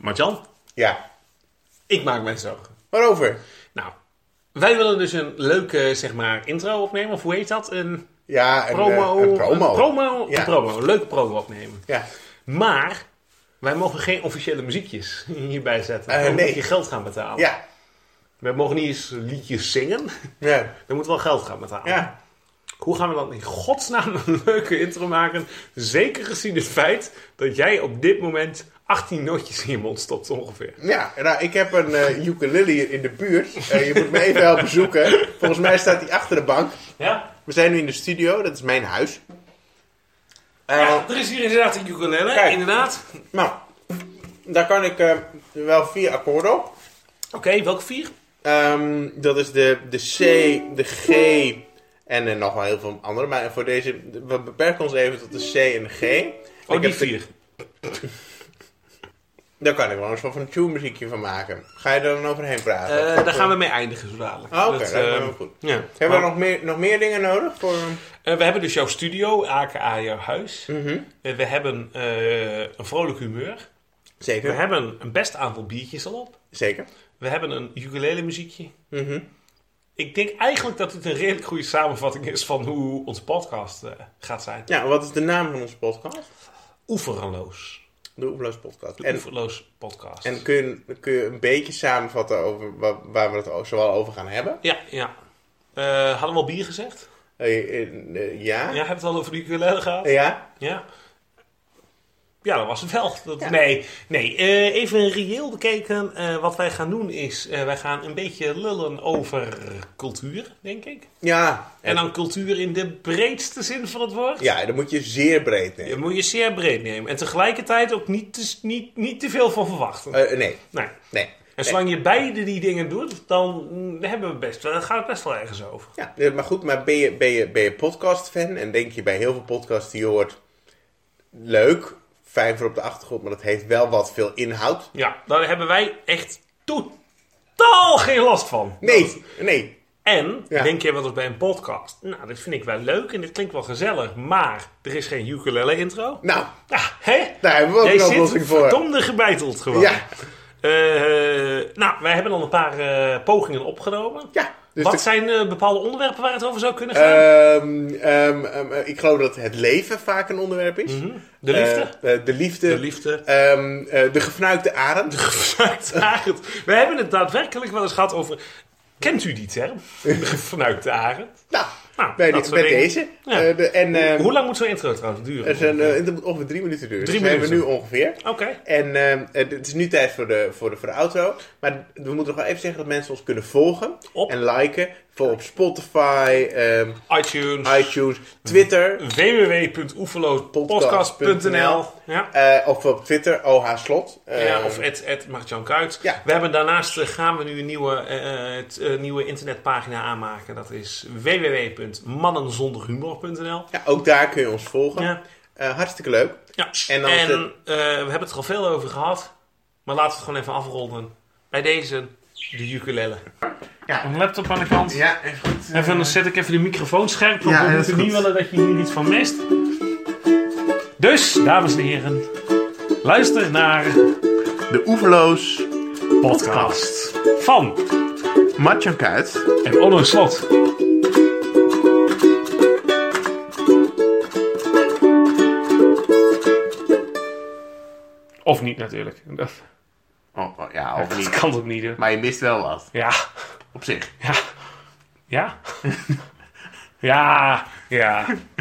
Martjan, Ja. ik maak mij zorgen. Waarover? Nou, wij willen dus een leuke, zeg maar, intro opnemen. Of hoe heet dat? Een Ja, een, promo. eh, een promo. Een promo, Ja. een promo. Een leuke promo opnemen. Ja. Maar wij mogen geen officiële muziekjes hierbij zetten. Eh, Dan moet nee. je geld gaan betalen. Ja. We mogen niet eens liedjes zingen. Ja. Dan moeten we wel geld gaan betalen. Ja. Hoe gaan we dan in godsnaam een leuke intro maken? Zeker gezien het feit dat jij op dit moment 18 nootjes in je mond stopt ongeveer. Ja, nou, ik heb een eh ukulele hier in de buurt. Eh, je moet me even helpen zoeken. Volgens mij staat die achter de bank. Ja? We zijn nu in de studio, dat is mijn huis. Eh, ja er is hier inderdaad een ukulele, Kijk. inderdaad. Nou, daar kan ik eh, wel vier akkoorden op. Oké, welke vier? Ehm, dat is de, de C, de G en eh, nog wel heel veel andere. Maar voor deze, we beperken ons even tot de C en de G. Oh, Ik die heb de- vier. daar kan ik wel eens wel van een tune muziekje van maken. Ga je daar dan overheen praten? Eh, daar gaan we mee eindigen zo dadelijk. Ah, oké, Dat, dat is eh, wel goed. Ja. Hebben we Maar, nog meer, nog meer dingen nodig? Voor... eh, we hebben dus jouw studio, aka jouw huis. Eh, we hebben eh, een vrolijk humeur. We Zeker. hebben een best aantal biertjes al op. Zeker. We hebben een ukulele muziekje. Mhm. Ik denk eigenlijk dat het een redelijk goede samenvatting is van hoe onze podcast eh, gaat zijn. Ja, wat is de naam van onze podcast? Oeverloos. De Oeverloos Podcast. De En, Oeverloos podcast. en kun, je, kun je een beetje samenvatten over wa- waar we het o- zoal over gaan hebben? Ja, ja. Eh, hadden we al bier gezegd? Eh, eh, eh, ja? Ja, Ja? hebben we het al over de ukulele gehad? Ja? Ja. Ja, dat was het wel. Dat, Ja. Nee, nee. eh, even reëel bekeken. eh, wat wij gaan doen is, eh, wij gaan een beetje lullen over cultuur, denk ik. En dan cultuur in de breedste zin van het woord. Ja, dan moet je zeer breed nemen. Je moet je zeer breed nemen. En tegelijkertijd ook niet te, niet, niet te veel van verwachten. Eh, nee, nee. nee. En zolang je beide die dingen doet, dan mm, hebben we best, wel- gaat het best wel ergens over. Ja, eh, maar goed, maar ben je, ben je, ben je podcast-fan en denk je bij heel veel podcasts die je hoort, leuk, fijn voor op de achtergrond, maar dat heeft wel wat veel inhoud. Ja, daar hebben wij echt totaal geen last van. Nee, nee. En Ja. denk je wel eens bij een podcast. Nou, dit vind ik wel leuk en dit klinkt wel gezellig, maar er is geen ukulele intro. Nou, Ja, hè? daar hebben we ook Jij een zit oplossing voor. verdomde gebeiteld gewoon. Ja, Eh, nou, wij hebben al een paar eh, pogingen opgenomen. ja. Dus Wat de- zijn eh, bepaalde onderwerpen waar het over zou kunnen gaan? Ehm, ehm, ehm, eh, ik geloof dat het leven vaak een onderwerp is. Mhm. Hm? de liefde? Eh, eh, de liefde. de liefde. Ehm, eh, de gefnuikte arend. Gefnuikte arend. We hebben het daadwerkelijk wel eens gehad over... Kent u die term? De gefnuikte arend. Nou, Nou, bij, dat de- soort bij dingen. deze. Ja. Eh, de- en, ehm, Hoe lang moet zo'n intro trouwens er duren? zijn, eh, het moet ongeveer drie minuten duren. Drie dus we minuten. hebben we nu ongeveer. Oké. En ehm, eh, het is nu tijd voor de, voor, de, voor de outro. Maar we moeten nog wel even zeggen dat mensen ons kunnen volgen. Op? En liken. Voor op Spotify, ehm, iTunes. iTunes, Twitter. www.oeverloospodcast.nl ja. eh, of op Twitter, OH Slot. Eh, ja, of at, at Martjan Kuit. Ja. We hebben daarnaast eh, gaan we nu een nieuwe, eh, eh, t- eh, nieuwe internetpagina aanmaken. Dat is www.mannenzonderhumor.nl. ja, ook daar kun je ons volgen. Ja. Eh, hartstikke leuk. Ja. En, En als het- eh, we hebben het er al veel over gehad. Maar laten we het gewoon even afronden. Bij deze, de ukulele. Ja. Een laptop aan de kant. Ja, en goed. Even, dan zet ik even de microfoon scherp. Want Eh, Ja, we dat is moeten niet goed. willen dat je hier iets van mist. Dus, dames en heren. Luister naar De Oeverloos, podcast van Martjan Kuit. en Onno Slot. Of niet natuurlijk. Dat, Oh, oh, ja, of dat niet. kan toch niet. hè? Maar je mist wel wat. Ja. Op zich. Ja. Ja. Ja. Ja.